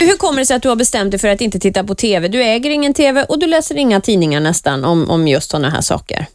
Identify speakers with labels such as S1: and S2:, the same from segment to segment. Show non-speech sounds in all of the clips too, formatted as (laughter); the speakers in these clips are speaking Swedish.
S1: hur kommer det sig att du har bestämt dig för att inte titta på TV? Du äger ingen TV och du läser inga tidningar nästan om, om just sådana här saker.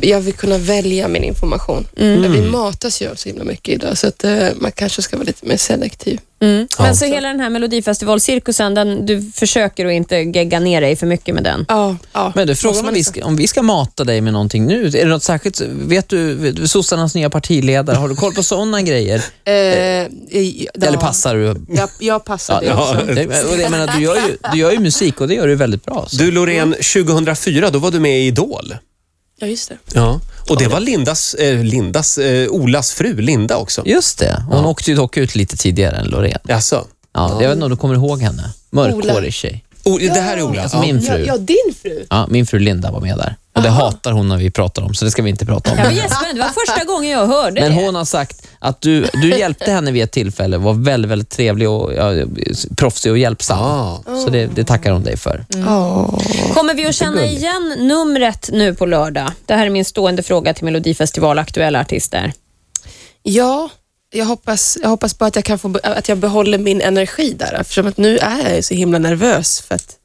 S2: Jag vill kunna välja min information. Vi matas ju av så himla mycket idag, så att eh, man kanske ska vara lite mer selektiv.
S1: Mm. Men så hela den här Melodifestivalcirkusen, den, du försöker att inte gegga ner dig för mycket med den.
S2: Ja, ja.
S3: Men du, frågan
S2: Måste
S3: om
S2: man
S3: vi,
S2: också.
S3: ska, om vi ska mata dig med någonting nu, är det något särskilt? Vet du, vet du sossarnas nya partiledare, har du koll på sådana grejer?
S2: Eh, i- ja.
S3: Eller passar du?
S2: Jag, jag passar det
S3: ja.
S2: också.
S3: Det, och det, jag menar, du, gör ju, du gör ju musik och det gör du väldigt bra. Så.
S4: Du Loreen, 2004 då var du med i Idol.
S2: Ja, just det.
S4: Ja. Och det var Lindas, eh, Lindas eh, Olas fru, Linda också.
S3: Just det, hon åkte ju dock ut lite tidigare än Loreen.
S4: Jaså?
S3: Ja, jag vet inte om du kommer ihåg henne? Mörkhårig tjej.
S4: O, Det här är Ola.
S3: Alltså
S4: ja.
S3: min
S2: Ja,
S3: fru.
S2: ja, din fru.
S3: Ja, min fru Linda var med där. Och det hatar hon när vi pratar om, så det ska vi inte prata om.
S1: Jag var jättespänd. Det var första gången jag hörde
S3: Men
S1: det.
S3: hon har sagt att du, du hjälpte henne vid ett tillfälle, var väldigt, väldigt trevlig och ja, proffsig och hjälpsam.
S4: Ah.
S3: Så det, det tackar hon dig för.
S1: Kommer vi att känna igen numret nu på lördag? Det här är min stående fråga till Melodifestival aktuella artister.
S2: Ja, jag hoppas, jag hoppas bara att jag, kan få, att jag behåller min energi där eftersom att nu är jag ju så himla nervös för att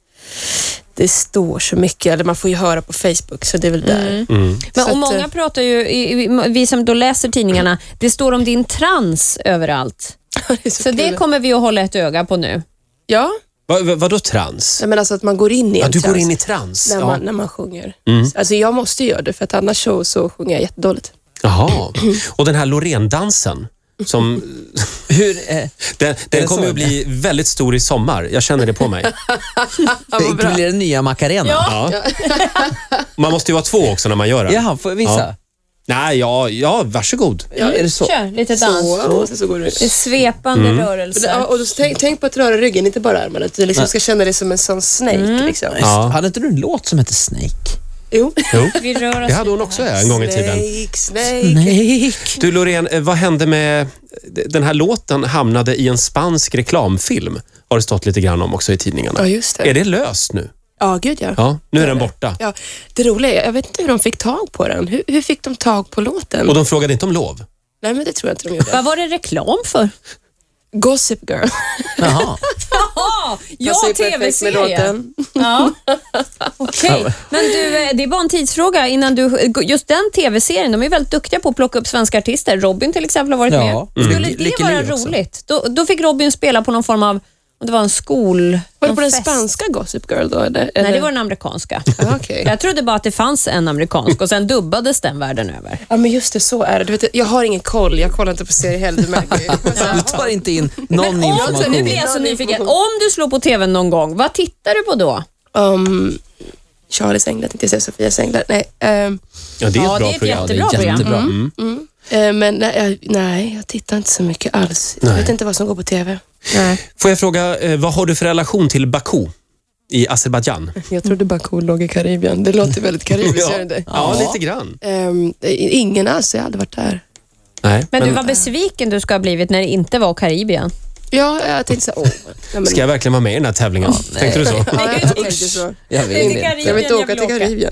S2: det står så mycket, eller man får ju höra på Facebook så det är väl där. (laughs)
S1: Men,
S2: Så
S1: och
S2: att, eh,
S1: många pratar ju, i- i- vi som då läser tidningarna, det står om din trans överallt.
S2: är
S1: Så det
S2: kul.
S1: kommer vi att hålla ett öga på nu.
S2: Ja,
S4: Va, va, vadå trans?
S2: nej, men alltså att man går in i en
S4: Ja, du går
S2: trans
S4: in i trans?
S2: när,
S4: Ja. Mm.
S2: man, när man sjunger. Alltså jag måste ju göra det för att annars så, så sjunger jag jättedåligt.
S4: Jaha. Och den här Loreen-dansen som...
S3: Hur, eh,
S4: Den,
S3: det
S4: den kommer
S3: så?
S4: att bli väldigt stor i sommar. Jag känner det på mig.
S3: blir det nya Macarena?
S4: Ja. Man måste ju vara två också när man gör det.
S3: Jaha, får jag visa?
S4: Nej, ja, ja, varsågod.
S3: Ja. Är det så?
S1: Kör lite dans.
S2: Så, så, så går det.
S1: Det är svepande
S3: Mm.
S2: Ja,
S1: rörelser.
S2: och då, tänk, tänk på att röra ryggen, inte bara armarna. Att du liksom ska känna dig som en sån snake. Liksom.
S4: Ja.
S3: Hade inte du en låt som hette Snake?
S2: Jo.
S4: Jo.
S1: Vi rör oss.
S4: Det hade hon också en gång i tiden.
S2: Snake, snake.
S3: Snake.
S4: Du Loreen, eh, vad hände med... Den här låten hamnade i en spansk reklamfilm. Har det stått lite grann om också i tidningarna.
S2: Ja, just det.
S4: Är det löst nu?
S2: Ja, gud ja.
S4: Ja, nu är den borta.
S2: Ja, det roliga är, jag vet inte hur de fick tag på den. Hur, hur fick de tag på låten?
S4: Och de frågade inte om lov.
S2: Nej, men det tror jag inte de gjorde.
S1: Vad var det reklam för?
S2: Gossip Girl.
S3: Jaha.
S1: Jaha, ja,
S2: Passar ju perfekt med
S1: tv-serien.
S2: låten. (laughs)
S1: Ja. Okej, men du, eh, det är bara en tidsfråga innan du... Just den tv-serien, de är väldigt duktiga på att plocka upp svenska artister. Robin till exempel har varit
S3: Ja,
S1: med. Skulle
S3: mm.
S1: det
S3: Lykke- Lykke
S1: vara
S3: Li också.
S1: roligt? Då, då fick Robin spela på någon form av, om det var en skol...
S2: Var det
S1: någon
S2: på den
S1: fest.
S2: spanska Gossip Girl då? Eller?
S1: Nej, det var den amerikanska.
S2: Ah, Okej.
S1: Jag trodde bara att det fanns en amerikansk och sen dubbades den världen över.
S2: Ja, men just det, så är det. Du vet, jag har ingen koll. Jag kollar inte på serier heller, du märker (laughs) ju.
S3: Du tar inte in någon
S1: Om,
S3: information.
S1: nu blir jag så nyfiken. Om du slår på tvn någon gång, vad tittar du på då?
S2: Um, Charlies änglar tänkte jag säga, Sofias änglar. Nej, ehm,
S4: Ja, det är Mm. ett
S1: Ja,
S4: bra
S1: det är ett
S4: program.
S3: Det
S1: Bra
S3: är
S1: program. Mm.
S3: jättebra.
S2: eh, men nej jag, nej, jag tittar inte så mycket alls. Jag
S4: Nej.
S2: vet inte vad som går på TV. Nej.
S4: Får jag fråga, eh, vad har du för relation till Baku i Azerbajdzjan?
S2: Jag trodde bara kor låg i Karibien. Det låter väldigt karibiskt, gör det inte?
S4: ja, lite grann.
S2: Ehm, ingen alls, jag har aldrig varit där.
S4: Nej,
S1: Men,
S4: men
S1: du, vad besviken du ska ha blivit när det inte var Karibien.
S2: Ja, jag tänkte så här, åh. nej, men-
S4: ska jag verkligen vara med i den här tävlingen? Tänkte du så?
S2: Ja, jag tänkte så.
S3: Jag
S1: Det är
S3: vill
S1: Karibien
S2: Jag vill inte åka
S1: vill
S2: till Karibien.